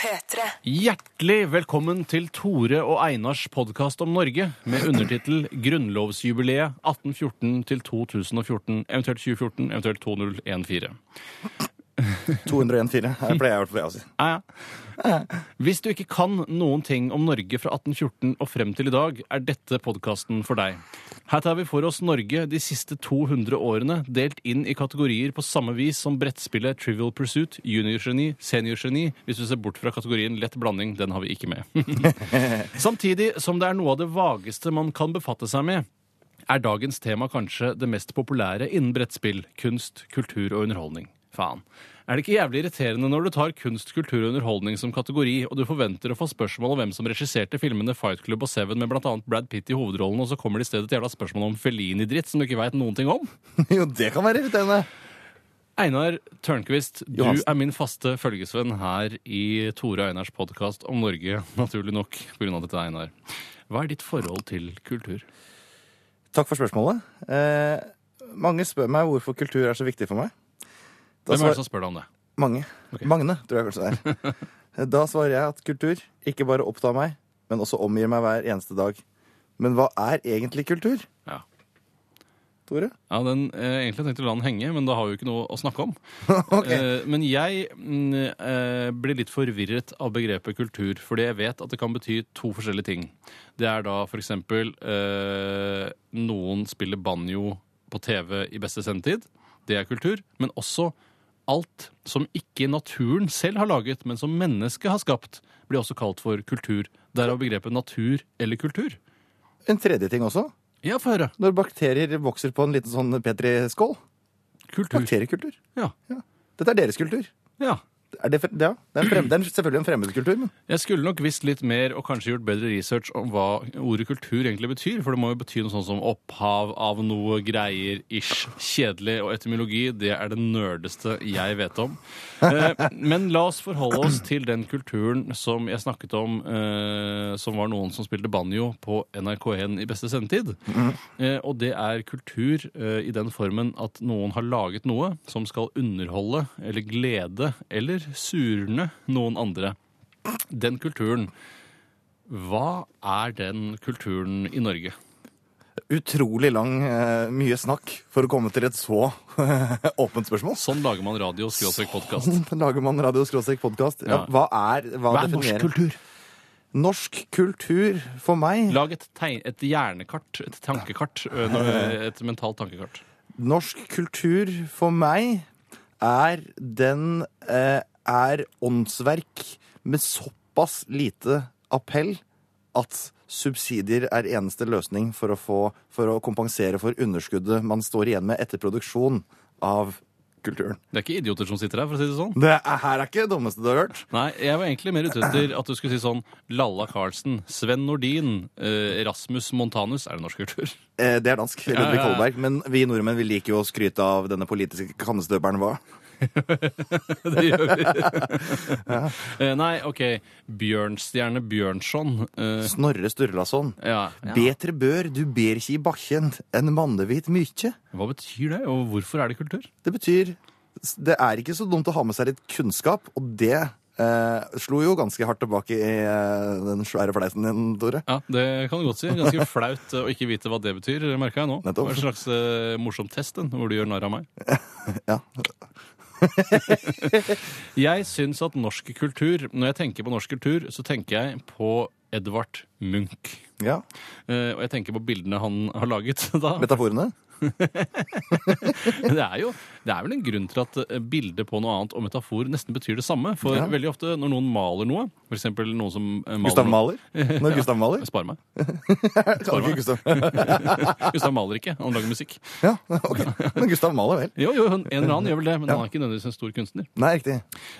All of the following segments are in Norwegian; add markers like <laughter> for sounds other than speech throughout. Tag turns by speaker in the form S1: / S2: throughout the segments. S1: P3.
S2: Hjertelig velkommen til Tore og Einars podkast om Norge med undertittel 'Grunnlovsjubileet 1814 til 2014', eventuelt 2014, eventuelt 2014.
S3: 201-4 her pleier jeg å være å si.
S2: Ja, ja. Hvis du ikke kan noen ting om Norge fra 1814 og frem til i dag, er dette podkasten for deg. Her tar vi for oss Norge de siste 200 årene, delt inn i kategorier på samme vis som brettspillet Trivial Pursuit, juniorgeni, seniorgeni, hvis du ser bort fra kategorien lett blanding, den har vi ikke med. <laughs> Samtidig som det er noe av det vageste man kan befatte seg med, er dagens tema kanskje det mest populære innen brettspill, kunst, kultur og underholdning. Faen. Er det ikke jævlig irriterende når du tar kunst, kultur og underholdning som kategori, og du forventer å få spørsmål om hvem som regisserte filmene Fight Club og Seven med blant annet Brad Pitt i hovedrollen, og så kommer det i stedet et jævla spørsmål om Felini-dritt som du ikke veit noen ting om?
S3: <laughs> Jo, det kan være irriterende.
S2: Einar Tørnquist, du
S3: Johansen.
S2: er min faste følgesvenn her i Tore og Einars podkast om Norge, naturlig nok, pga. dette, Einar. Hva er ditt forhold til kultur?
S3: Takk for spørsmålet. Eh, mange spør meg hvorfor kultur er så viktig for meg. Da
S2: Hvem er
S3: svar-
S2: det som spør deg om det?
S3: Mange. Magne, tror jeg kanskje det
S2: <laughs>
S3: er. da svarer jeg at kultur ikke bare opptar meg, men også omgir meg hver eneste dag. Men hva er egentlig kultur?
S2: Ja.
S3: Tore?
S2: Ja, den, eh, Egentlig tenkte jeg å la den henge, men da har vi jo ikke noe å snakke om. Eh, men jeg mm, eh, blir litt forvirret av begrepet kultur, fordi jeg vet at det kan bety to forskjellige ting. Det er da for eksempel eh, noen spiller banjo på TV i beste sendetid. Det er kultur. Men også alt som ikke naturen selv har laget, men som mennesket har skapt, blir også kalt for kultur. Derav begrepet natur eller kultur.
S3: En tredje ting også.
S2: Ja, få høre.
S3: Når bakterier vokser på en liten sånn petriskål.
S2: Kultur.
S3: Bakteriekultur.
S2: Ja.
S3: Dette er deres kultur.
S2: ja.
S3: Er det, fre- ja, det, er en frem, det er selvfølgelig en fremmedkultur, men
S2: Jeg skulle nok visst litt mer og kanskje gjort bedre research om hva ordet kultur egentlig betyr, for det må jo bety noe sånn som opphav av noe greier, ish. Kjedelig. Og etymologi, det er det nerdeste jeg vet om. Eh, Men la oss forholde oss til den kulturen som jeg snakket om, eh, som var noen som spilte banjo på NRK1 i beste sendetid. Eh, Og det er kultur eh, i den formen at noen har laget noe som skal underholde eller glede eller surne noen andre. Den kulturen, hva er den kulturen i Norge?
S3: utrolig lang, eh, mye snakk for å komme til et så <laughs> åpent spørsmål.
S2: Sånn lager man radio skråstrek podkast.
S3: <laughs> Sånn lager man radio skråstrek podkast.
S2: Ja.
S3: Ja. Hva er, hva
S2: Hva er norsk
S3: definerer norsk kultur? Norsk kultur for meg
S2: Lag et, tegn, et hjernekart, et tankekart, ø, nå- et mentalt tankekart.
S3: Norsk kultur for meg er den eh, er åndsverk med såpass lite appell at subsidier er eneste løsning for å, få, for å kompensere for underskuddet man står igjen med etter produksjon av kulturen.
S2: Det er ikke idioter som sitter her, for å si det sånn.
S3: Det er, her er ikke det dummeste du har hørt.
S2: Nei, jeg var egentlig mer ute etter at du skulle si sånn Lalla Carlsen, Sven Nordin, eh, Rasmus Montanus Er det norsk kultur? <laughs>
S3: Eh, det er dansk. Ludvig
S2: ja, ja.
S3: Holberg. Men vi nordmenn vi liker jo å skryte av denne politiske kannestøperen hva?
S2: Det gjør vi. Eh, Nei, OK. Bjørnstjerne Bjørnson. eh,
S3: Snorre Sturlason.
S2: ja. ja.
S3: Betre bør du berki bakken enn mannevit mykje.
S2: Hva betyr det, og hvorfor er det kultur?
S3: Det betyr Det er ikke så dumt å ha med seg litt kunnskap, og det eh, slo jo ganske hardt tilbake i eh, den svære fleisen din, Tore.
S2: Ja, det kan du godt si.
S3: <laughs>
S2: Ganske flaut eh, å ikke vite hva det betyr, merka jeg nå. Det
S3: Nettopp.
S2: var en slags eh, morsom test, den, hvor du gjør narr av meg.
S3: Ja.
S2: Jeg syns at norsk kultur Når jeg tenker på norsk kultur, så tenker jeg på Edvard Munch.
S3: ja.
S2: Eh, og jeg tenker på bildene han har laget <laughs> da.
S3: Metaforene?
S2: Men det er jo det er vel en grunn til at eh, bilde på noe annet og metafor nesten betyr det samme. For
S3: Ja.
S2: veldig ofte når noen maler noe, f.eks. noen som eh, maler
S3: Gustav
S2: noe-
S3: Mahler? Når Gustav Mahler?
S2: Spar meg.
S3: Kan ikke Gustav. <laughs>
S2: Gustav maler ikke, han lager musikk.
S3: Ja, ok. Men Gustav Mahler, vel.
S2: Jo, jo, en eller
S3: <laughs>
S2: annen gjør vel det, men han er ikke nødvendigvis en stor kunstner.
S3: Nei, riktig.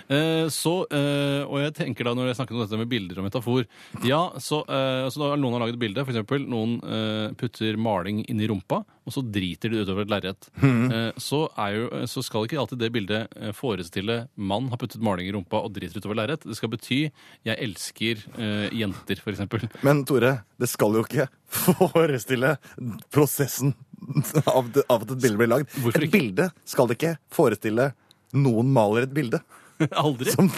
S2: Eh, så, eh, og jeg tenker da når jeg snakker om dette med bilder og metafor Ja, så, eh, så da noen har laget et bilde, for eksempel noen eh, putter maling inn i rumpa, og så driter de det utover et lerret.
S3: Mhm.
S2: Eh, så, er jo, eh, så skal ikke alltid det bildet eh, forestille mann har puttet maling i rumpa og driter utover lerret. Det skal bety 'jeg elsker eh, jenter', for eksempel. <laughs>
S3: Men Tore, det skal jo ikke forestille prosessen av, det, av at et bilde blir lagd.
S2: Hvorfor
S3: Et
S2: ikke?
S3: bilde skal det ikke forestille noen maler et bilde.
S2: Aldri.
S3: Som,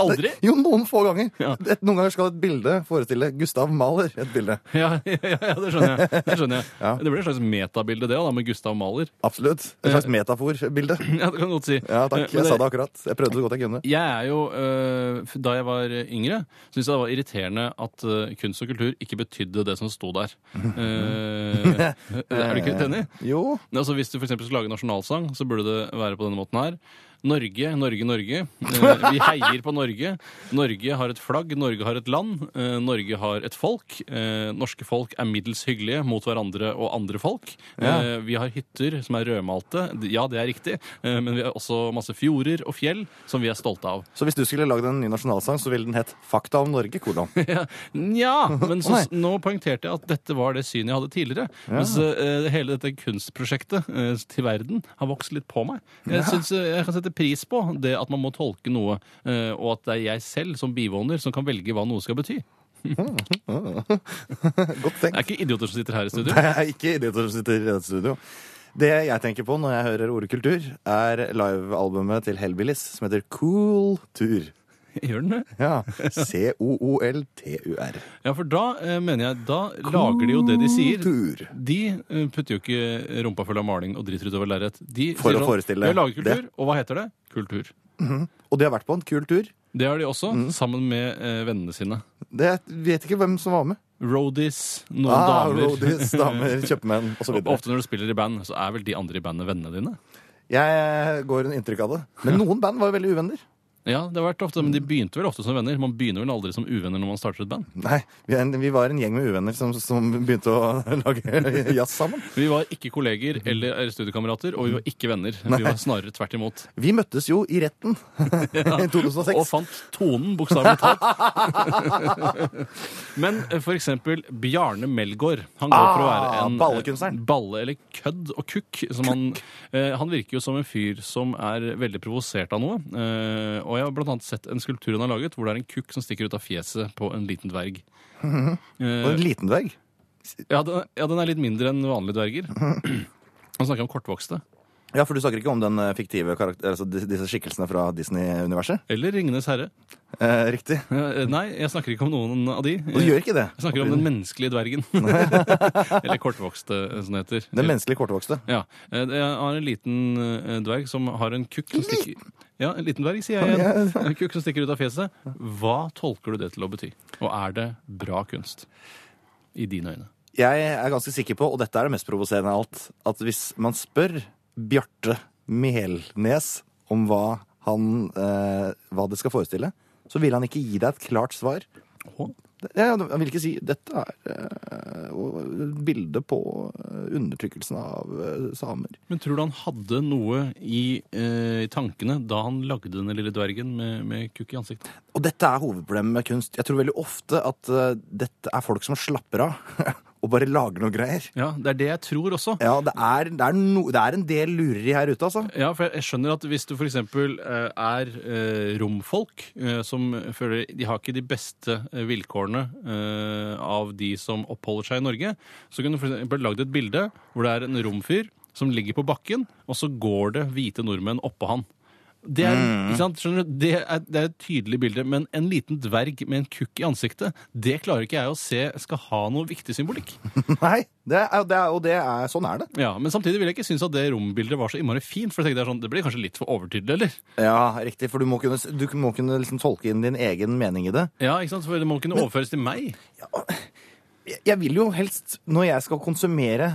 S2: Aldri?
S3: Jo, noen få ganger.
S2: Ja.
S3: Et, noen ganger skal et bilde forestille Gustav Mahler. Et bilde.
S2: Ja, <laughs> ja, ja, ja, det skjønner jeg. Det, skjønner jeg.
S3: Ja.
S2: det blir et slags metabilde, det, da, med Gustav Mahler. <laughs>
S3: Absolutt. Et slags metaforbilde.
S2: Ja, det kan du godt si.
S3: Ja, takk.
S2: Eh. Men
S3: Jeg sa det akkurat. Jeg prøvde så godt jeg kunne.
S2: Jeg er jo, øh, f- Da jeg var yngre, syntes jeg det var irriterende at øh, kunst og kultur ikke betydde det som sto der. Eh, <laughs> er du ikke helt enig?
S3: Jo.
S2: Altså, hvis du for eksempel skal lage nasjonalsang, så burde det være på denne måten her. Norge, Norge, Norge. Eh, vi heier på Norge. Norge har et flagg, Norge har et land. Eh, Norge har et folk. Eh, norske folk er middels hyggelige mot hverandre og andre folk. Eh,
S3: Ja.
S2: vi har hytter som er rødmalte. Ja, det er riktig. Eh, men vi har også masse fjorder og fjell som vi er stolte av.
S3: Så hvis du skulle lagd en ny nasjonalsang, så ville den hett 'Fakta om Norge'? Hvordan? <laughs>
S2: Nja, men så,
S3: Å,
S2: nå poengterte jeg at dette var det synet jeg hadde tidligere. Mens eh, hele dette kunstprosjektet eh, til verden har vokst litt på meg. Jeg, synes, eh, jeg kan sette pris på det at man må tolke noe, eh, og at det er jeg selv som bivåner som kan velge hva noe skal bety.
S3: <laughs> Godt
S2: Det
S3: tenkt.
S2: er ikke idioter som sitter her i studio.
S3: Det er ikke idioter som sitter i dette studio. Det jeg tenker på når jeg hører ordet kultur, er livealbumet til Hellbillies som heter Cool Tur.
S2: <laughs> Gjør den det?
S3: Ja. C-o-o-l-t-u-r.
S2: Ja, for da eh, mener jeg Da lager de jo det de sier.
S3: Kultur.
S2: De eh, putter jo ikke rumpa full av maling og driter utover lerret. De sier
S3: For å
S2: sånn,
S3: forestille
S2: «Vi lager kultur,
S3: det.
S2: og hva heter det? Kultur.
S3: Og de har vært på en kul tur.
S2: Det har de også,
S3: Mm.
S2: sammen med eh, vennene sine.
S3: Det vet ikke hvem som var med.
S2: Roadies, noen
S3: Ah,
S2: damer.
S3: Roadies, damer, kjøpmenn osv.
S2: Og Ofte når du spiller i band, så er vel de andre i bandet vennene dine?
S3: Jeg går under inntrykk av det. Men noen band var jo veldig uvenner.
S2: Ja, det har vært ofte, men de begynte vel ofte som venner. Man begynner vel aldri som uvenner når man starter et band.
S3: Nei, vi, er en, vi var en gjeng med uvenner som, som begynte å <laughs> lage jazz sammen.
S2: Vi var ikke kolleger eller eller studiekamerater, og vi var ikke venner. Vi var snarere tvert imot.
S3: Vi møttes jo i retten <laughs> i 2006.
S2: Og fant tonen, bokstavelig talt. <laughs> Men eh, for eksempel Bjarne Melgaard. Han går for å være
S3: Ah,
S2: en eh,
S3: ballekunstneren.
S2: balle eller kødd og kukk. Som han, eh, han virker jo som en fyr som er veldig provosert av noe. Eh, og jeg har blant annet sett en skulptur han har laget, hvor det er en kukk som stikker ut av fjeset på en liten dverg. Eh,
S3: Og en liten dverg.
S2: Ja, den, ja, den er litt mindre enn vanlige dverger. <clears throat> Han snakker om kortvokste.
S3: Ja, for du snakker ikke om den eh, fiktive karakter, altså dis- disse skikkelsene fra Disney-universet?
S2: Eller Ringenes herre.
S3: Eh, riktig.
S2: Eh, nei, jeg snakker ikke om noen av de.
S3: Og du gjør ikke det.
S2: Jeg snakker om den menneskelige <laughs> dvergen. Eller kortvokste, som det heter.
S3: Den menneskelige kortvokste.
S2: Ja. Eh, Jeg har en liten eh, dverg som har en kukk som stikker Ja, en liten dverg, sier jeg. igjen. En kukk som stikker ut av fjeset. Hva tolker du det til å bety? Og er det bra kunst? I dine øyne.
S3: Jeg er ganske sikker på, og dette er det mest provoserende av alt, at hvis man spør Bjarte Melnes om hva, han, eh, hva det skal forestille, så vil han ikke gi deg et klart svar.
S2: Å.
S3: Ja, han vil ikke si 'dette er eh, og- bildet på eh, undertrykkelsen av eh, samer'.
S2: Men tror du han hadde noe i, eh, i tankene da han lagde den lille dvergen med, med kukk i ansiktet?
S3: Og dette er hovedproblemet med kunst. Jeg tror veldig ofte at eh, dette er folk som slapper av <laughs> og bare lager noe greier.
S2: Ja, det er det jeg tror også.
S3: Ja, det er, det er, no, det er en del lureri her ute, altså.
S2: Ja, for jeg- jeg skjønner at hvis du for eksempel eh, er eh, romfolk, eh, som føler de har ikke de beste eh, vilkårene eh, av de som oppholder seg i Norge, så kunne du for eksempel lagd et bilde hvor det er en romfyr som ligger på bakken, og så går det hvite nordmenn oppå han. Det er, ikke sant? Skjønner du? Det, er, det er et tydelig bilde, men en liten dverg med en kukk i ansiktet, det klarer ikke jeg å se skal ha noe viktig symbolikk.
S3: <laughs> Nei, det er, det er, og det er, sånn er det.
S2: Ja, Men samtidig vil jeg ikke synes at det rombildet var så innmari fint, for jeg tenkte det, er sånn, det blir kanskje litt for overtydelig, eller?
S3: Ja, riktig, for du må kunne, du må kunne liksom tolke inn din egen mening i det.
S2: Ja, ikke sant? For det må kunne overføres til meg.
S3: Jeg- Jeg vil jo helst, når jeg skal konsumere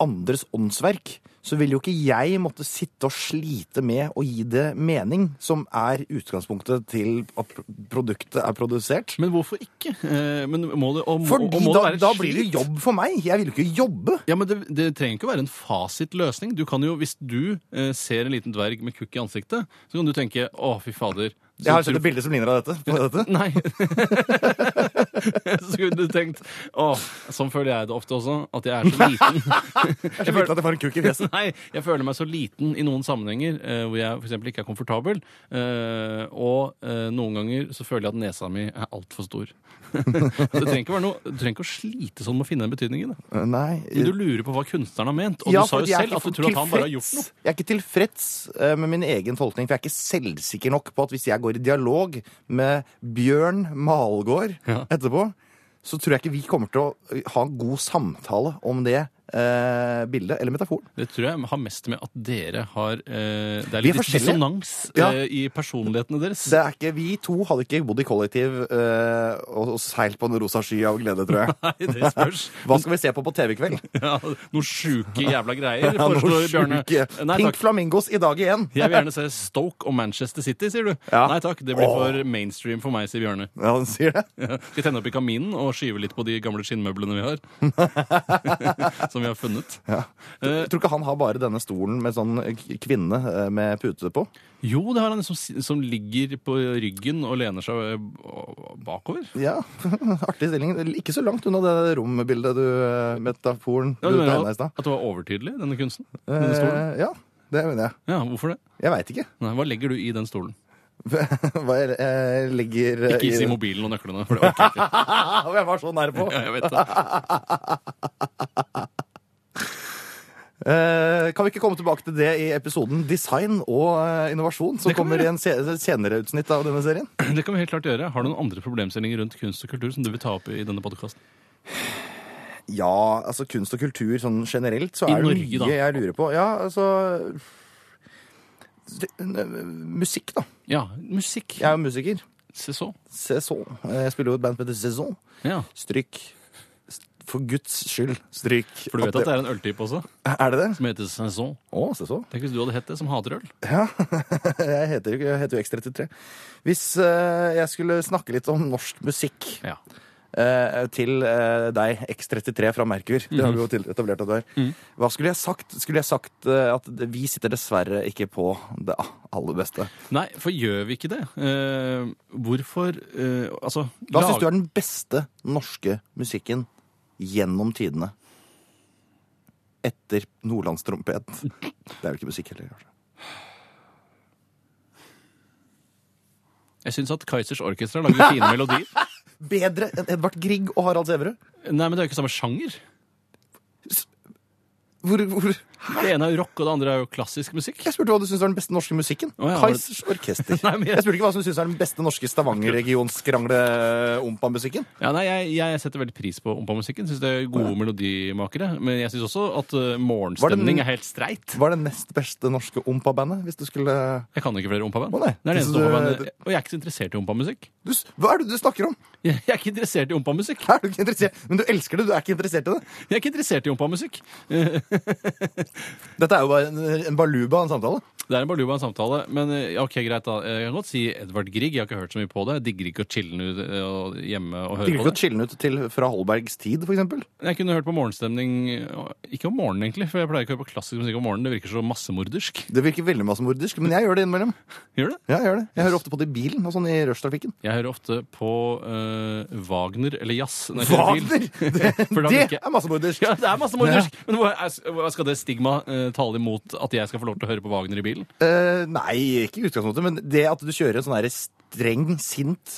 S3: andres åndsverk, så vil jo ikke jeg måtte sitte og slite med å gi det mening, som er utgangspunktet til at pro- produktet er produsert.
S2: Men hvorfor ikke? Eh, Men må det, og, må- og
S3: Fordi
S2: må
S3: da,
S2: det være et
S3: da blir det
S2: slit?
S3: jobb for meg. Jeg vil jo ikke jobbe.
S2: Ja, men det, det trenger ikke å være en fasitløsning. Du kan jo, Hvis du eh, ser en liten dverg med kukk i ansiktet, så kan du tenke 'Å, fy fader'. så
S3: Jeg har
S2: tror-
S3: sett et bilde som ligner av dette. På dette.
S2: Nei. <laughs> Så kunne du tenkt Åh, sånn føler jeg det ofte også, at jeg er
S3: <laughs>
S2: så liten.
S3: Jeg følte at jeg var en kuk i fjeset.
S2: Nei, jeg føler meg så liten i noen sammenhenger eh, hvor jeg f.eks. ikke er komfortabel. eh, og eh, noen ganger så føler jeg at nesa mi er altfor stor. <laughs> så det trenger ikke være noe, du trenger ikke å slite sånn med å finne den betydningen. da.
S3: Nei.
S2: <laughs> Men du lurer på hva kunstneren har ment, og
S3: Ja,
S2: du sa
S3: fordi
S2: jo
S3: jeg er
S2: selv
S3: ikke
S2: at du tror at han bare har gjort
S3: tilfreds.
S2: noe.
S3: Jeg er ikke tilfreds eh, med min egen tolkning, for jeg er ikke selvsikker nok på at hvis jeg går i dialog med Bjørn Malgaard
S2: Ja.
S3: etterpå, så tror jeg ikke vi kommer til å eh, ha en god samtale om det eh, bildet, eller metaforen.
S2: Det tror jeg har mest med at dere har eh, Det er
S3: Vi er
S2: litt
S3: forskjellige.
S2: dissonans
S3: Ja.
S2: eh, i personlighetene deres.
S3: Det er ikke, vi to hadde ikke bodd i kollektiv eh, og, og seilt på en rosa sky av glede, tror
S2: <laughs>
S3: jeg.
S2: <laughs> Nei, det spørs.
S3: Hva skal vi se på på TV i kveld?
S2: Ja, noen sjuke jævla greier,
S3: <laughs> Ja, noe
S2: foreslår Bjørne.
S3: sjuke.
S2: Nei
S3: Pink
S2: takk.
S3: Flamingos i dag igjen.
S2: Jeg vil gjerne se Stoke og Manchester City, sier du.
S3: Ja.
S2: Nei takk, det blir
S3: Åh.
S2: for mainstream for meg, sier Bjørne.
S3: Ja, han sier det.
S2: Skal jeg tenne opp i kaminen og skyve litt på de gamle skinnmøblene vi har.
S3: <laughs>
S2: Som vi har funnet. Eh,
S3: Jeg tror ikke han har bare denne stolen med sånn k- kvinne eh, med pute på.
S2: jo, det har han som, som ligger på ryggen og lener seg eh, bakover.
S3: Ja, <laughs> artig stilling. Ikke så langt unna det rombildet du eh, Metaforen
S2: Ja,
S3: du
S2: du mener
S3: tegna i
S2: at,
S3: stad.
S2: at det var overtydelig, denne kunsten? Denne stolen?
S3: Eh, ja, det mener jeg.
S2: Ja, hvorfor det?
S3: Jeg veit ikke <laughs>
S2: Nei, hva legger du i den stolen?
S3: hva jeg eh, legger eh,
S2: Ikke si
S3: <laughs>
S2: mobilen og nøklene, for det orker jeg ikke.
S3: Jeg var så nær på!
S2: Ja, jeg vet
S3: <laughs>
S2: det.
S3: Eh, kan vi ikke komme tilbake til det i episoden Design og eh, innovasjon, som
S2: Det kan vi
S3: kommer i en se senere utsnitt av denne serien?
S2: Det kan vi helt klart gjøre. Har du noen andre problemstillinger rundt kunst og kultur som du vil ta opp i denne podkasten?
S3: Ja, altså kunst og kultur sånn generelt, så
S2: I
S3: er det
S2: Norge,
S3: mye
S2: da.
S3: jeg lurer på. Ja, altså det- n- Musikk, da.
S2: Ja, musikk.
S3: Jeg er jo musiker.
S2: Se så.
S3: Saison. Jeg spiller jo i et band som heter Saison.
S2: Ja.
S3: Stryk. St- For guds skyld, stryk.
S2: For du vet at det er en øltype også,
S3: Er det det?
S2: som heter saison.
S3: Å, Saison.
S2: Tenk hvis du hadde hett det, som hater øl.
S3: Jeg heter jo, ikke- jeg heter jo X33. Hvis eh, jeg skulle snakke litt om norsk musikk
S2: Ja.
S3: eh, til eh, deg, X33 fra Merkur. Det har vi jo til- etablert at du er.
S2: Mm.
S3: Hva skulle jeg sagt? Skulle jeg sagt eh, at det- vi sitter dessverre ikke på det aller beste?
S2: Nei, for gjør vi ikke det? Eh, hvorfor eh, Altså
S3: Hva
S2: lag-
S3: syns du er den beste norske musikken gjennom tidene? Etter nordlandstrompet. Det er vel ikke musikk heller, kanskje.
S2: Jeg syns at Kaizers Orkestra lager fine <laughs> melodier.
S3: Bedre enn Edvard Grieg og Harald Sæverud?
S2: Nei, men det er jo ikke samme sjanger.
S3: Hvor, hvor?
S2: Det ene er jo rock, og det andre er jo klassisk musikk.
S3: Jeg spurte hva du syns er den beste norske musikken.
S2: Å, ja, var det-
S3: Kaizers Orkester.
S2: <laughs> Nei, men jeg-
S3: jeg... spurte ikke hva som syns er den beste norske Stavanger-regionskrangle-ompa-musikken.
S2: Ja, nei, jeg, jeg setter veldig pris på ompa-musikken. Syns det er gode melodimakere. Men jeg syns også at eh, morgenstemning er helt streit.
S3: Hva er det nest beste norske ompa-bandet? Hvis du skulle
S2: Jeg kan ikke flere ompa-band.
S3: Å, nei.
S2: Det er det
S3: Så
S2: eneste
S3: du-
S2: ompa-bandet. Og jeg er ikke så interessert i ompa-musikk. <laughs>
S3: du, s- Hva er det du snakker om?
S2: Jeg er ikke interessert i ompa-musikk.
S3: Er du ikke interessert? Men du elsker det, du er ikke interessert i det.
S2: Jeg er ikke interessert i ompa-musikk.
S3: Dette er jo bare en, en baluba av en samtale.
S2: Det er en baluba av en samtale, men eh, ja, ok, greit da. Jeg kan godt si Edvard Grieg. Jeg har ikke hørt så mye på det. Jeg digger ikke å chille ut eh, og hjemme og høre
S3: Digger
S2: på
S3: ikke å
S2: det.
S3: chille ut til fra Holbergs tid, for eksempel?
S2: Jeg kunne hørt på morgenstemning eh, Ikke om morgenen, egentlig, for jeg pleier ikke å høre på klassisk musikk om morgenen. Det virker så massemordersk. <laughs>
S3: Det virker veldig massemordisk, men jeg gjør det innimellom.
S2: Gjør det?
S3: Ja, jeg gjør det. Jeg hører ofte på det i bilen og sånn i rushtrafikken.
S2: Jeg hører ofte på eh, Wagner eller jazz. når jeg kjører bil.
S3: Wagner! Det,
S2: For da
S3: det
S2: virker-
S3: er
S2: <laughs>
S3: massemordisk!
S2: Ja, det er massemordersk! Men hva, er- hva skal det stigmaet eh, tale imot at jeg skal få lov til å høre på Wagner i bilen?
S3: Eh, nei, ikke i utgangspunktet, men det at du kjører en sånn her streng, sint,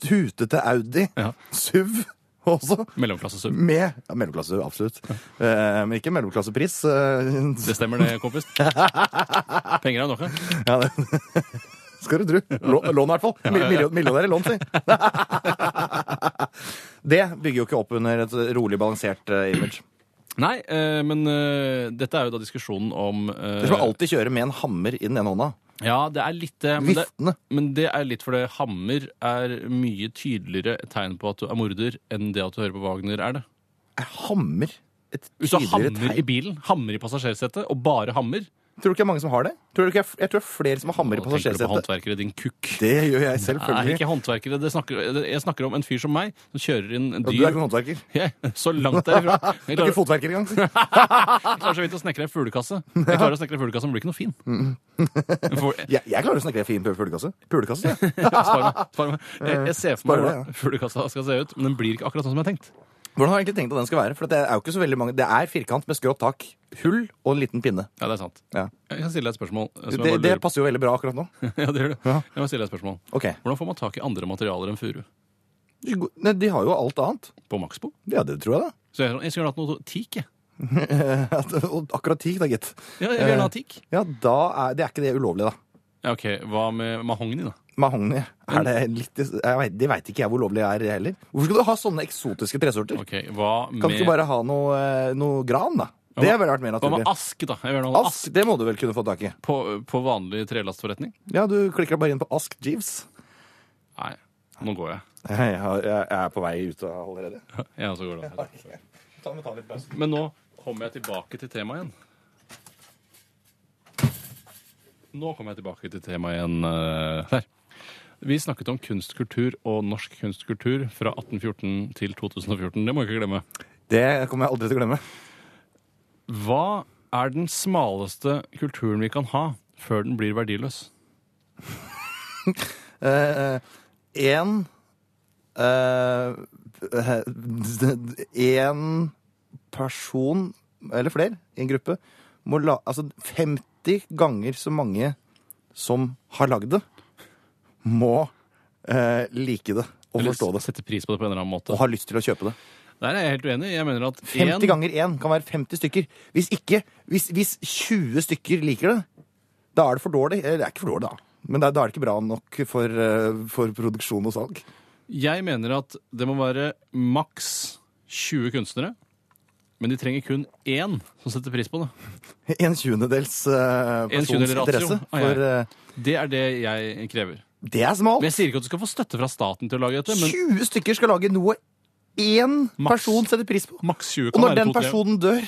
S3: tutete Audi
S2: Ja.
S3: SUV også.
S2: Mellomklassesum.
S3: Med ja, mellomklasse, absolutt. Eh, men ikke mellomklassepris. eh, <laughs>
S2: Det stemmer det, kompis. Penger er nok av.
S3: ja, det. Skal du tro. Lå- Lån, i hvert fall. Mil- million- Millionær i lån, si. <laughs> Det bygger jo ikke opp under et rolig, balansert eh, image.
S2: Nei, eh, men eh, dette er jo da diskusjonen om eh,
S3: Du skal alltid kjøre med en hammer i den ene hånda.
S2: Ja, det er litt det. Men det,
S3: Viftende.
S2: men det er litt fordi hammer er mye tydeligere et tegn på at du er morder, enn det at du hører på Wagner er det.
S3: Er hammer et
S2: Hvis du har
S3: tydeligere
S2: hammer i
S3: tegn?
S2: bilen, hammer i passasjersetet, og bare hammer,
S3: Tror du ikke det er mange som har det? Tror du ikke, jeg tror det er flere som har hammer i
S2: Nå tenker du på
S3: passasjersetet.
S2: håndverkere, din kukk.
S3: Det gjør jeg
S2: Nei,
S3: selvfølgelig.
S2: ikke håndverkere. Det snakker, jeg snakker om en fyr som meg, som kjører inn
S3: Du er
S2: dyr
S3: ikke håndverker.
S2: Jeg- Så langt
S3: <laughs>
S2: derifra. Jeg
S3: Du er
S2: klarer,
S3: ikke fotverker engang.
S2: jeg klarer så vidt å snekre ei fuglekasse. Jeg klarer å snekre ei fuglekasse, men blir ikke noe fin.
S3: Mm.
S2: For, <laughs>
S3: Jeg, jeg klarer å snakke fint på fuglekasse. Fuglekasse, ja.
S2: spar meg. Spar meg. Jeg, jeg ser for meg
S3: Spar det, ja.
S2: hvordan fuglekassa skal se ut, men den blir ikke akkurat sånn som jeg har tenkt.
S3: Hvordan har du egentlig tenkt at den skal være? For det er jo ikke så veldig mange Det er firkant med skrått tak, hull og en liten pinne.
S2: Ja, det er sant.
S3: Ja.
S2: Jeg kan stille deg et spørsmål. eh, Som
S3: Det,
S2: jeg
S3: det
S2: bare lurer på. <laughs>
S3: passer jo veldig bra akkurat nå.
S2: Ja, det gjør det.
S3: Ja.
S2: Jeg må stille deg et spørsmål.
S3: Ok.
S2: Hvordan får man tak i andre materialer enn furu?
S3: Nei, de har jo alt annet.
S2: På Maxbo?
S3: Ja, det tror jeg, da. <laughs>
S2: Så jeg, er sånn, jeg skulle gjerne hatt noe teak, jeg.
S3: At- og Akkurat teak, da, gitt.
S2: Ja, jeg vil
S3: Eh.
S2: gjerne ha teak.
S3: Ja, da er, det er ikke det ulovlig, da.
S2: Ja, ok, Hva med mahogni, da?
S3: Mahogni. Er det litt jeg vet, Det veit ikke jeg hvor lovlig er heller. Hvorfor skal du ha sånne eksotiske tresorter?
S2: Ok, Hva med
S3: Kan du ikke bare ha noe, eh, noe gran, da?
S2: Ja,
S3: Det
S2: hva-
S3: ville vært mer
S2: Hva med
S3: naturlig.
S2: ask, da? Jeg vil gjerne ha ask
S3: Ask, det må du vel kunne få tak i.
S2: på, på vanlig trelastforretning.
S3: Ja, du klikker bare inn på Ask Jeeves. <laughs>
S2: Nei, nå går jeg.
S3: Jeg, har- jeg er på vei ut av allerede.
S2: Ja, så går det.
S3: Ta, ta litt pause.
S2: Men nå kommer jeg tilbake til temaet igjen. Nå kommer jeg tilbake til temaet igjen eh, der. Vi snakket om kunstkultur og norsk kunstkultur fra 1814 til 2014. Det må vi ikke glemme.
S3: Det kommer jeg aldri til å glemme.
S2: Hva er den smaleste kulturen vi kan ha før den blir verdiløs?
S3: Eh, Én eh, <laughs> Én person, eller flere, i en gruppe, må la Altså 50 ganger så mange som har lagd det, må eh, like det og
S2: Eller
S3: forstå det.
S2: sette pris på det på en eller annen måte.
S3: Og har lyst til å kjøpe det.
S2: Der er jeg helt uenig. Jeg mener at
S3: 50
S2: én
S3: ganger én kan være 50 stykker. Hvis ikke, hvis, hvis 20 stykker liker det, da er det for dårlig. Eller det er ikke for dårlig, da. Men da da er det ikke bra nok for, eh, for produksjon og salg. <laughs>
S2: Jeg mener at det må være maks 20 kunstnere. Men de trenger kun én som setter pris på det.
S3: En tjundedels eh,
S2: En
S3: persons
S2: tjundedel ratio.
S3: interesse.
S2: Ah, ja.
S3: For eh,
S2: Det er det jeg krever.
S3: det er
S2: Men
S3: smalt.
S2: Jeg sier ikke at du skal få støtte fra staten til å lage dette, men
S3: 20 stykker skal lage noe én
S2: Maks.
S3: person setter pris på.
S2: maks 20
S3: Og
S2: kan
S3: når
S2: være
S3: den
S2: to-tre.
S3: personen dør,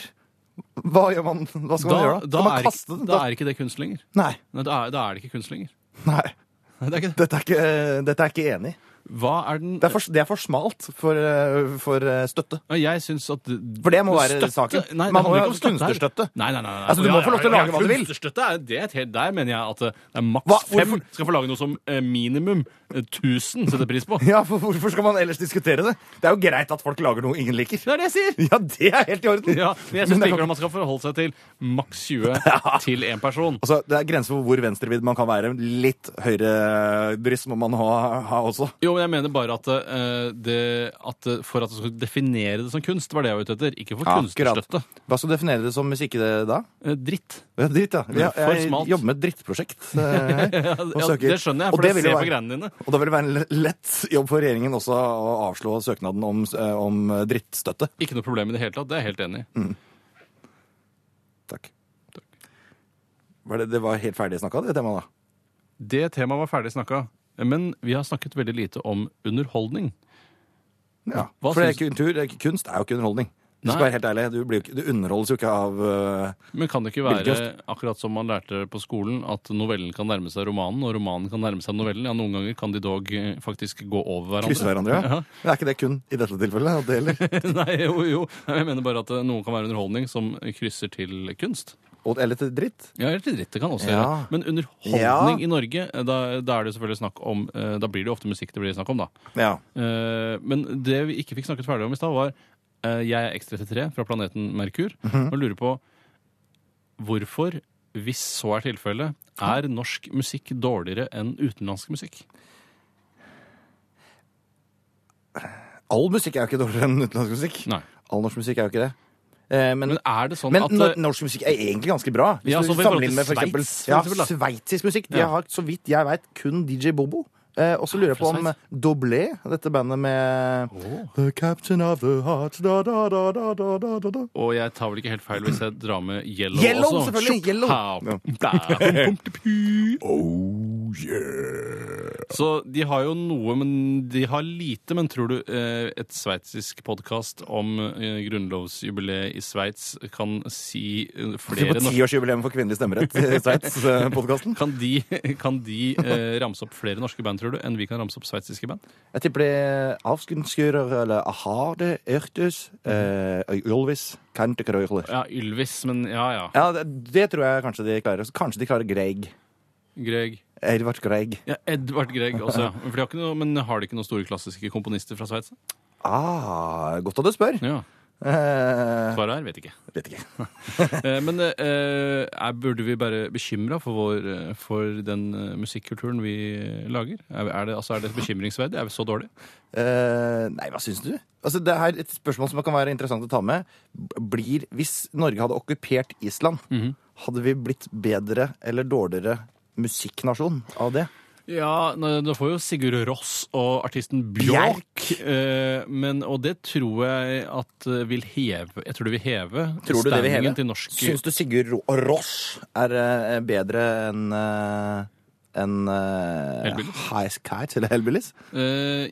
S3: hva, gjør man, hva skal
S2: Da,
S3: man gjøre da?
S2: da,
S3: Skal man
S2: er
S3: kaste
S2: ikke,
S3: den?
S2: da er ikke det kunst lenger.
S3: Nei.
S2: Nei, Da er, da er det ikke kunst lenger.
S3: nei.
S2: Nei, Det er ikke det.
S3: Dette er ikke, dette er ikke enig.
S2: Hva er den
S3: Det er for, det er for smalt for, eh, for eh, støtte.
S2: Ja, Jeg syns at
S3: For det må være saken.
S2: Nei, det
S3: Man må
S2: handler ikke om
S3: jo ha
S2: støtte her.
S3: kunstnerstøtte.
S2: Nei, nei, nei, nei.
S3: Altså, du må få lov til å
S2: Ja,
S3: lage hva du vil.
S2: Kunstnerstøtte er, det er et helt, der mener jeg at eh, det er maks
S3: Hva?
S2: fem
S3: Hvorfor-
S2: skal få lage noe som eh, minimum eh, 1000 setter pris
S3: <laughs>
S2: på.
S3: Ja, for Hvorfor skal man ellers diskutere det? Det er jo greit at folk lager noe ingen liker. <laughs>
S2: Det er det jeg sier!
S3: Ja, det er helt i orden.
S2: Ja, men jeg
S3: Men
S2: syns
S3: det er-
S2: likevel man skal forholde seg til maks
S3: <laughs>
S2: 20 til én person.
S3: Altså, Det er grenser for hvor venstrevidd man kan være. Litt høyrebryst må man ha, ha også.
S2: Jo, men jeg mener bare at, eh, det, at eh, for at du skal definere det som kunst, var det jeg var ute etter. Ikke for
S3: Akkurat.
S2: kunstnerstøtte.
S3: Hva skal du definere det som, hvis ikke det da?
S2: Eh, Dritt. <laughs>
S3: Ja, dritt, ja. Jeg,
S2: For
S3: jeg
S2: smalt.
S3: jobber med et drittprosjekt. eh, her,
S2: Ja,
S3: og søker.
S2: det skjønner jeg,
S3: Og
S2: for det,
S3: vil
S2: ser
S3: jo
S2: jeg på
S3: være-
S2: greiene dine.
S3: <laughs> Og det vil være en le- lett jobb for regjeringen også å avslå søknaden om, eh, om drittstøtte.
S2: Ikke noe problem i det hele tatt. Det er jeg helt enig i.
S3: Mm. Takk. Var det, det var helt ferdig snakka, det temaet da?
S2: Det temaet var ferdig snakka. Men vi har snakket veldig lite om underholdning.
S3: Ja.
S2: Hva
S3: for det er kultur, det er ikke- kunst er jo ikke underholdning. Du skal
S2: Nei.
S3: være helt ærlig, du, blir, jo ikke- du underholdes jo ikke av eh,
S2: Men kan det ikke være akkurat som man lærte på skolen, at novellen kan nærme seg romanen, og romanen kan nærme seg novellen? Ja, noen ganger kan de dog eh, faktisk gå over hverandre.
S3: krysse
S2: <laughs>
S3: hverandre. Ja. Men er ikke det kun i dette tilfellet? at det gjelder? <laughs>
S2: Nei, jo, jo. Jeg mener bare at eh, noen kan være underholdning som krysser til kunst.
S3: Og- Eller til dritt?
S2: Ja, eller til dritt. Det kan også
S3: Ja.
S2: gjøre. Men underholdning i Norge, eh, da, da er det jo selvfølgelig snakk om eh, Da blir det jo ofte musikk det blir snakk om, da.
S3: Ja.
S2: Eh, Men det vi ikke fikk snakket ferdig om i stad, var eh, Jeg er X33 fra planeten Merkur
S3: Mhm.
S2: og lurer på hvorfor, hvis så er tilfellet, er norsk musikk dårligere enn utenlandsk musikk?
S3: All musikk er jo ikke dårligere enn utenlandsk musikk.
S2: Nei.
S3: All norsk musikk er jo ikke det. Eh, men
S2: Men er det sånn
S3: men
S2: at
S3: nor-
S2: eh,
S3: norsk musikk er egentlig ganske bra. Hvis
S2: Ja,
S3: du
S2: sånn i forhold til
S3: sammenligner med for eksempel,
S2: Sveits, for
S3: ja,
S2: eksempel, da.
S3: sveitsisk musikk. De
S2: Ja.
S3: har, så vidt jeg veit, kun DJ Bobo. Eh, og så lurer jeg på
S2: Fra
S3: om
S2: Sveits.
S3: Doblé, dette bandet med The captain of the heart da, da, da, da, da, da, da, da.
S2: Og jeg tar vel ikke helt feil hvis jeg drar med Yellow,
S3: Yellow,
S2: også?
S3: selvfølgelig,
S2: Tjopp,
S3: Yellow.
S2: hau, da, pum, pum, pum, pum.
S3: Oh yeah.
S2: Så de har jo noe, men de har lite. Men tror du eh, et sveitsisk podkast om eh, grunnlovsjubileet i Sveits kan si eh,
S3: Se
S2: flere
S3: på
S2: norske
S3: tiårsjubileum for kvinnelig stemmerett i eh, Sveits-podkasten.
S2: Kan de, <laughs> kan de eh, ramse opp flere norske band, tror du, enn vi kan ramse opp sveitsiske band?
S3: <laughs> Jeg tipper det er Avskenskurer eller Aharde, Ørtus, eh, Ylvis, Kantekrøyler.
S2: Ja, Ylvis, men ja ja.
S3: Ja, det, det tror jeg kanskje de klarer. Så Kanskje de klarer Greig.
S2: Greg.
S3: Edvard Greig.
S2: Ja, Edvard Grieg også, ja. For de har ikke noe, men har de ikke noen store klassiske komponister fra Sveits?
S3: Ah, godt at du spør.
S2: Ja,
S3: Eh,
S2: Svaret her vet ikke.
S3: vet ikke.
S2: Eh, Men eh, er, burde vi være bekymra for, vår, eh, for den eh, musikkulturen vi eh, lager? Er, er, det, altså, er det bekymringsverdig? Er vi så dårlige?
S3: Eh, nei, hva syns du? Altså, det er et spørsmål som kan være interessant å ta med. B- Blir, hvis Norge hadde okkupert Island, hadde vi blitt bedre eller dårligere musikknasjon av det?
S2: Ja, nå, nå får jo Sigurd Ross og artisten Bjørk eh, men, Og det tror jeg at eh, vil heve Jeg tror det vil heve
S3: Tror du det vil heve?
S2: standingen til norsk
S3: Syns du Sigurd Ro- Ross er eh, bedre enn uh, enn eh,
S2: Hellbillies?
S3: Highest Kite eller Hellbillies?
S2: Eh,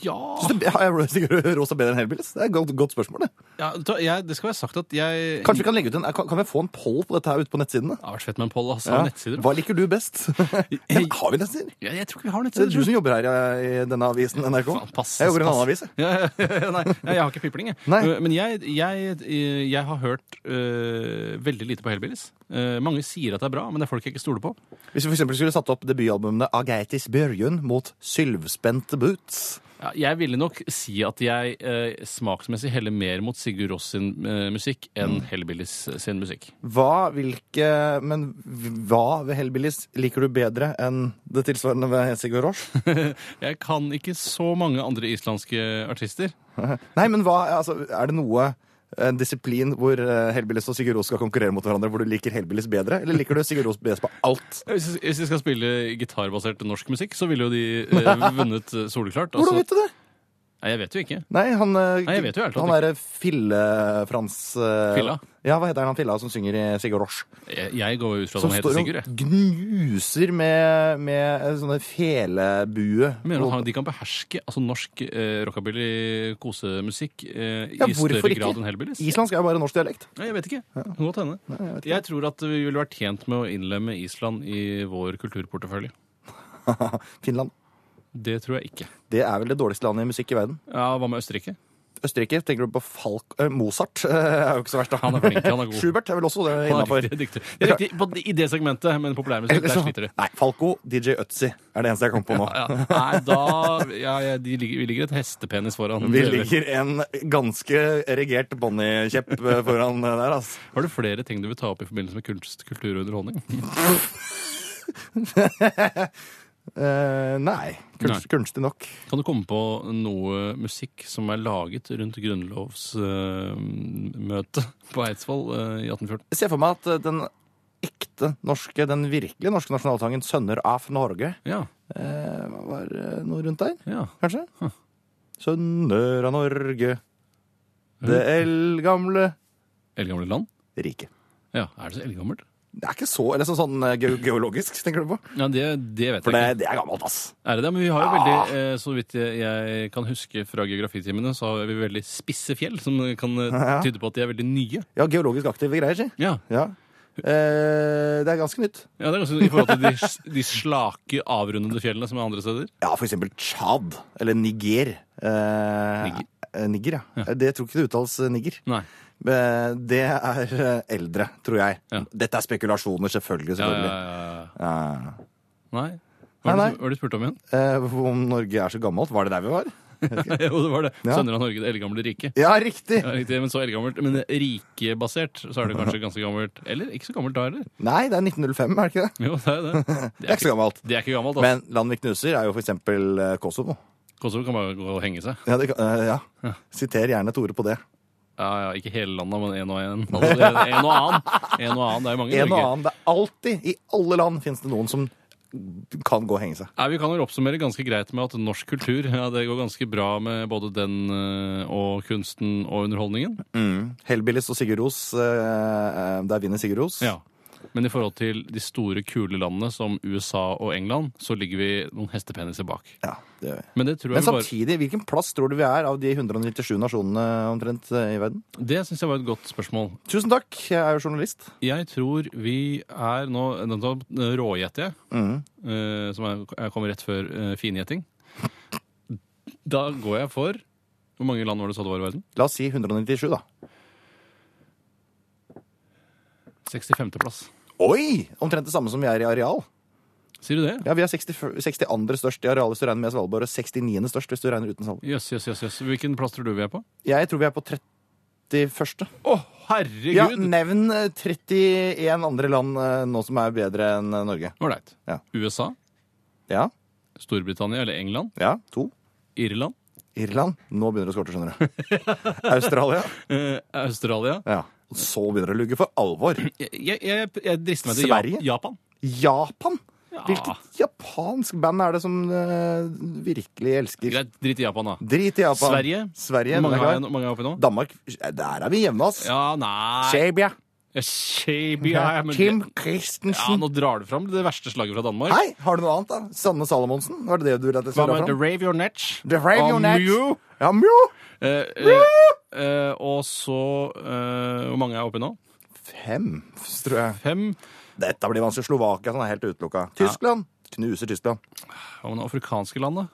S2: ja.
S3: Syns du ja, Sigurd Ross er bedre enn Hellbillies? Det er et godt, godt spørsmål. det.
S2: ja da- jeg, det skal være sagt at jeg
S3: Kanskje vi kan legge ut en, eh, kan, kan vi få en poll på dette her ute på nettsidene?
S2: Det har vært fett med en poll, altså.
S3: Ja.
S2: Nettsider.
S3: Hva liker du
S2: <laughs>
S3: best? Men har vi nettsider?
S2: Ja, jeg tror ikke vi har
S3: Det er du
S2: nettsider.
S3: som jobber her eh, i denne avisen, NRK.
S2: Faen, pass,
S3: Jeg jobber i en
S2: pass.
S3: annen avis. jeg.
S2: Ja, ja, ja, nei, jeg har ikke pipling, jeg.
S3: Nei.
S2: Eh, Men jeg, jeg, jeg har hørt eh, veldig lite på Hellbillies. Eh, mange sier at det er bra, men det er folk jeg ikke stoler på.
S3: Hvis vi for eksempel skulle satt opp debutalbumene Ageitis Børjun mot Sylvspente Boots
S2: Ja, jeg ville nok si at jeg eh, smaksmessig heller mer mot Sigurd Ross sin eh, musikk enn Hellbillies sin musikk.
S3: Hva, hvilke, men hva ved Hellbillies liker du bedre enn det tilsvarende ved Sigurd Rosh?
S2: <laughs> Jeg kan ikke så mange andre islandske artister.
S3: <laughs> Nei, men hva, altså, er det noe en disiplin hvor eh, Hellbillies og Sigurd Ross skal konkurrere mot hverandre, hvor du liker Hellbillies bedre, eller liker du Sigurd Ross best på alt?
S2: Hvis jeg- hvis jeg skal spille gitarbasert norsk musikk, så ville jo de
S3: <laughs>
S2: eh, vunnet eh, soleklart. Altså,
S3: Hvordan vet du det?
S2: nei, jeg vet jo ikke.
S3: Nei, han, eh,
S2: Nei, jeg vet jo helt
S3: han
S2: klart
S3: er eh, Fille-Frans eh,
S2: Filla.
S3: Ja, hva heter han Filla som synger i Sigurd Rosh?
S2: Jeg, jeg går jo ut fra at
S3: Som
S2: han
S3: står
S2: heter
S3: og
S2: Sigurd. Jeg.
S3: gnuser med, med eh, sånne felebue.
S2: Jeg mener at han, de kan beherske altså, norsk eh, rockabilly-kosemusikk eh,
S3: Ja,
S2: i
S3: hvorfor
S2: større
S3: ikke?
S2: grad enn Hellbillies.
S3: Islandsk er jo bare norsk dialekt.
S2: Nei, jeg vet ikke. Det kan godt hende. jeg, tror at vi ville vært tjent med å innlemme Island i vår kulturportefølje.
S3: Finland.
S2: Det tror jeg ikke.
S3: Det er vel det dårligste landet i musikk i verden.
S2: Ja, Hva med Østerrike?
S3: Østerrike, tenker du på Falk eh, Mozart? <laughs> eh, er jo ikke så verst, da.
S2: Han er flink, han er god.
S3: <laughs> Schubert er vel også det
S2: Han er
S3: innafor.
S2: riktig, riktig. Det er riktig på, I det segmentet, men populærmusikk, der sliter de.
S3: Nei, Falco, DJ Øtzi er det eneste jeg kom på nå.
S2: <laughs> Ja, nei, da ja, ja, de ligger, Vi ligger et hestepenis foran.
S3: Vi ligger en ganske erigert bonnykjepp eh, foran eh, der, altså.
S2: Har du flere ting du vil ta opp i forbindelse med kunst, kultur og underholdning?
S3: Eh, nei. Kunst, Kunstig nok.
S2: Kan du komme på noe musikk som er laget rundt grunnlovsmøtet på Eidsvoll eh, i 1814?
S3: Jeg ser for meg at eh, den ekte norske, den virkelig norske nasjonalsangen 'Sønner av Norge'
S2: Ja,
S3: eh, var eh, noe rundt der,
S2: ja.
S3: kanskje?
S2: Huh.
S3: Sønner av Norge, det eldgamle
S2: Eldgamle land?
S3: riket.
S2: Ja, Er det så eldgammelt?
S3: Det er ikke så eller sånn, sånn eh, ge geologisk, tenker du på?
S2: Ja, det, det vet
S3: For
S2: jeg ikke.
S3: det, det er gammelt, ass.
S2: Er det det? Men vi har jo veldig, eh, så vidt jeg- jeg kan huske fra geografitimene, så har vi veldig spisse fjell, som kan eh,
S3: Ja.
S2: tyde på at de er veldig nye.
S3: Ja, geologisk aktive greier, si.
S2: Ja,
S3: Ja. Eh, det er ganske nytt.
S2: ja det er ganske I forhold til de, s- de slake, avrundede fjellene som er andre steder.
S3: Ja, for eksempel Tsjad, eller Niger. Eh,
S2: Niger?
S3: eh, Niger, ja. Det tror ikke det uttales eh, niger.
S2: Nei.
S3: Eh, Det er eh, eldre, tror jeg.
S2: Ja.
S3: Dette er spekulasjoner, selvfølgelig.
S2: Ja,
S3: selvfølgelig.
S2: ja, ja.
S3: Ja.
S2: Nei.
S3: Nei,
S2: Hva var
S3: nei.
S2: det du- hva var det du spurte om igjen?
S3: Eh, Om Norge er så gammelt, var det der vi var?
S2: <laughs> jo, det var det.
S3: Ja.
S2: Sønner av Norge, det eldgamle riket.
S3: Ja, riktig!
S2: Ja, riktig, men så eldgammelt. Men rikebasert, så er det kanskje ganske gammelt. Eller ikke så gammelt da heller.
S3: Nei, det er 1905, er det ikke det?
S2: Jo, det er
S3: <laughs>
S2: det. Det
S3: Det
S2: er
S3: er ikke så
S2: ikke,
S3: gammelt.
S2: det er ikke gammelt, altså.
S3: Men land vi knuser, er jo for eksempel eh, Kosovo.
S2: Kosovo kan bare gå og henge seg.
S3: Ja, det, kan- eh, ja. Siter gjerne Tore på det.
S2: Ja, ja, Ikke hele landet, men en og
S3: <laughs>
S2: en. Altså, det er en og annen. En og annen, Det er jo mange i
S3: En og
S2: Norge.
S3: annen. Det er alltid, i alle land, fins det noen som kan gå og henge seg.
S2: Nei, Vi kan vel oppsummere ganske greit med at norsk kultur ja, det går ganske bra med både den eh, og kunsten og underholdningen.
S3: Hellbillies og Sigurd Ros. eh, eh, Der vinner Sigurd Ros.
S2: Ja. Men i forhold til de store, kule landene som USA og England, så ligger vi noen hestepeniser bak.
S3: Ja, det gjør vi.
S2: Men det tror jeg
S3: Men
S2: vi bare
S3: samtidig, hvilken plass tror du vi er av de 197 nasjonene omtrent eh, i verden?
S2: Det syns jeg var et godt spørsmål.
S3: Tusen takk, jeg er jo journalist.
S2: Jeg tror vi er nå Nå rågjetter jeg,
S3: Mm.
S2: eh, som er, jeg kommer rett før eh, fingjetting. Da går jeg for Hvor mange land var det du sa det var i verden?
S3: La oss si 197, da.
S2: 65. plass.
S3: Oi! Omtrent det samme som vi er i areal.
S2: Sier du det?
S3: Ja, Vi er 60, 62. størst i areal hvis du regner med Svalbard, og 69. størst hvis du regner uten Svalbard.
S2: Jøss, jøss, jøss. jøss. Hvilken plass tror du vi er på?
S3: Jeg tror vi er på 31.
S2: Å,
S3: Ja,
S2: herregud!
S3: Nevn eh, 31 andre land eh, nå som er bedre enn eh, Norge.
S2: Ålreit.
S3: Ja.
S2: USA,
S3: Ja,
S2: Storbritannia eller England,
S3: ja, to.
S2: Irland,
S3: Irland. Nå begynner det å skorte, skjønner du.
S2: <laughs>
S3: Australia.
S2: eh, Australia
S3: Ja. Så begynner det å lugge for alvor.
S2: Jeg, jeg, jeg, jeg drister meg til Jap-
S3: Sverige?
S2: Japan.
S3: Japan!
S2: Ja.
S3: Hvilket japansk band er det som eh, virkelig elsker
S2: Greit, drit i Japan, da.
S3: Drit i Japan.
S2: Sverige.
S3: Sverige
S2: Hvor
S3: den er
S2: mange har jeg,
S3: klar.
S2: hvor mange har jeg oppi nå?
S3: Danmark Eh, Der er vi hjemme, ass.
S2: Ja, nei
S3: Serbia.
S2: Ja, Eh, Shaby, ja, ja, men
S3: Kim
S2: ja,
S3: Christensen.
S2: Nå drar du fram det verste slaget fra Danmark.
S3: Hei, har du noe annet, da? Sanne Salomonsen? Var det det du ville at jeg
S2: Hva
S3: skulle
S2: med
S3: dra
S2: The
S3: fram?
S2: Rave Your Netch?
S3: The Rave Your
S2: Og
S3: Netch.
S2: Mew.
S3: Ja, mjo!
S2: Eh, eh, eh, og så eh, Hvor mange er jeg oppi nå?
S3: Fem, tror jeg.
S2: Fem?
S3: Dette blir vanskelig. Slovakia sånn er helt utelukka. Tyskland. Knuser Tyskland.
S2: Hva med det afrikanske landet?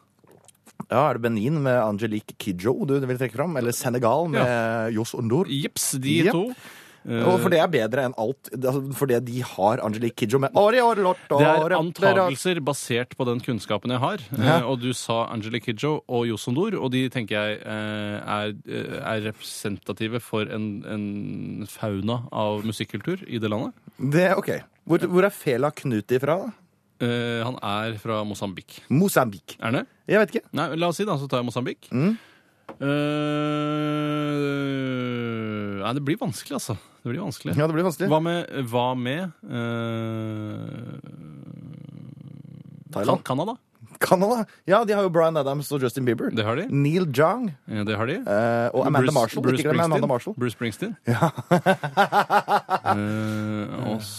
S3: Ja, Er det Benin med Angelique Kidjo du vil trekke fram? Eller Senegal med Johs Ondor?
S2: Jips, de
S3: Jep.
S2: to. Eh,
S3: Og for det er bedre enn alt. det- altså, For det de har Angelique Kidjo med Ori, ori, lort,
S2: det er
S3: ori, ori.
S2: antagelser basert på den kunnskapen jeg har. Eh, og du sa Angela Kidjo og Josondor, og de tenker jeg eh, er, eh, er representative for en, en fauna av musikkultur i det landet.
S3: Det, ok. Hvor, hvor er Fela Knut ifra? da?
S2: Eh, han er fra Mosambik.
S3: Mosambik.
S2: Er han det?
S3: Jeg vet ikke.
S2: Nei, la oss si da, så tar jeg Mosambik.
S3: Mm.
S2: Eh, nei, det blir vanskelig, altså. Det blir vanskelig.
S3: Ja, det blir vanskelig.
S2: Hva med, hva med eh,
S3: Thailand?
S2: Canada?
S3: Canada. Ja, de har jo Bryan Adams og Justin Bieber.
S2: Det har de.
S3: Neil Jong
S2: Eh, Det har de.
S3: eh, og Amanda Marshall.
S2: Bruce
S3: ikke glem Amanda
S2: Springsteen.
S3: Marshall.
S2: Bruce Springsteen. Eh, og så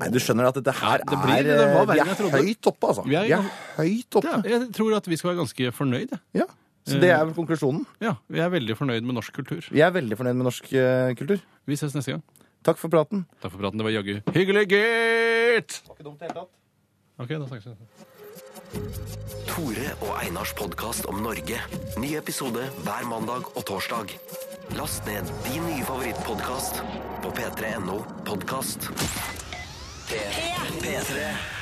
S3: Nei, Du skjønner at dette her
S2: Nei, det blir-
S3: er,
S2: det var verre
S3: eh,
S2: enn jeg
S3: Vi
S2: trodde.
S3: er høyt oppe, altså.
S2: Vi
S3: Vi
S2: er-
S3: er, høyt oppe.
S2: ja, Jeg tror at vi skal være ganske fornøyd. jeg.
S3: Ja. Så det er vel konklusjonen.
S2: Ja, Vi er veldig fornøyd med norsk kultur.
S3: Jeg er veldig fornøyd med norsk eh, kultur.
S2: Vi ses neste gang.
S3: Takk for praten.
S2: Takk for praten. Det var jaggu hyggelig, gitt! Ok, da snakkes vi.
S1: Tore og Einars podkast om Norge. Ny episode hver mandag og torsdag. Last ned din nye favorittpodkast på p3.no podkast. P3. P3.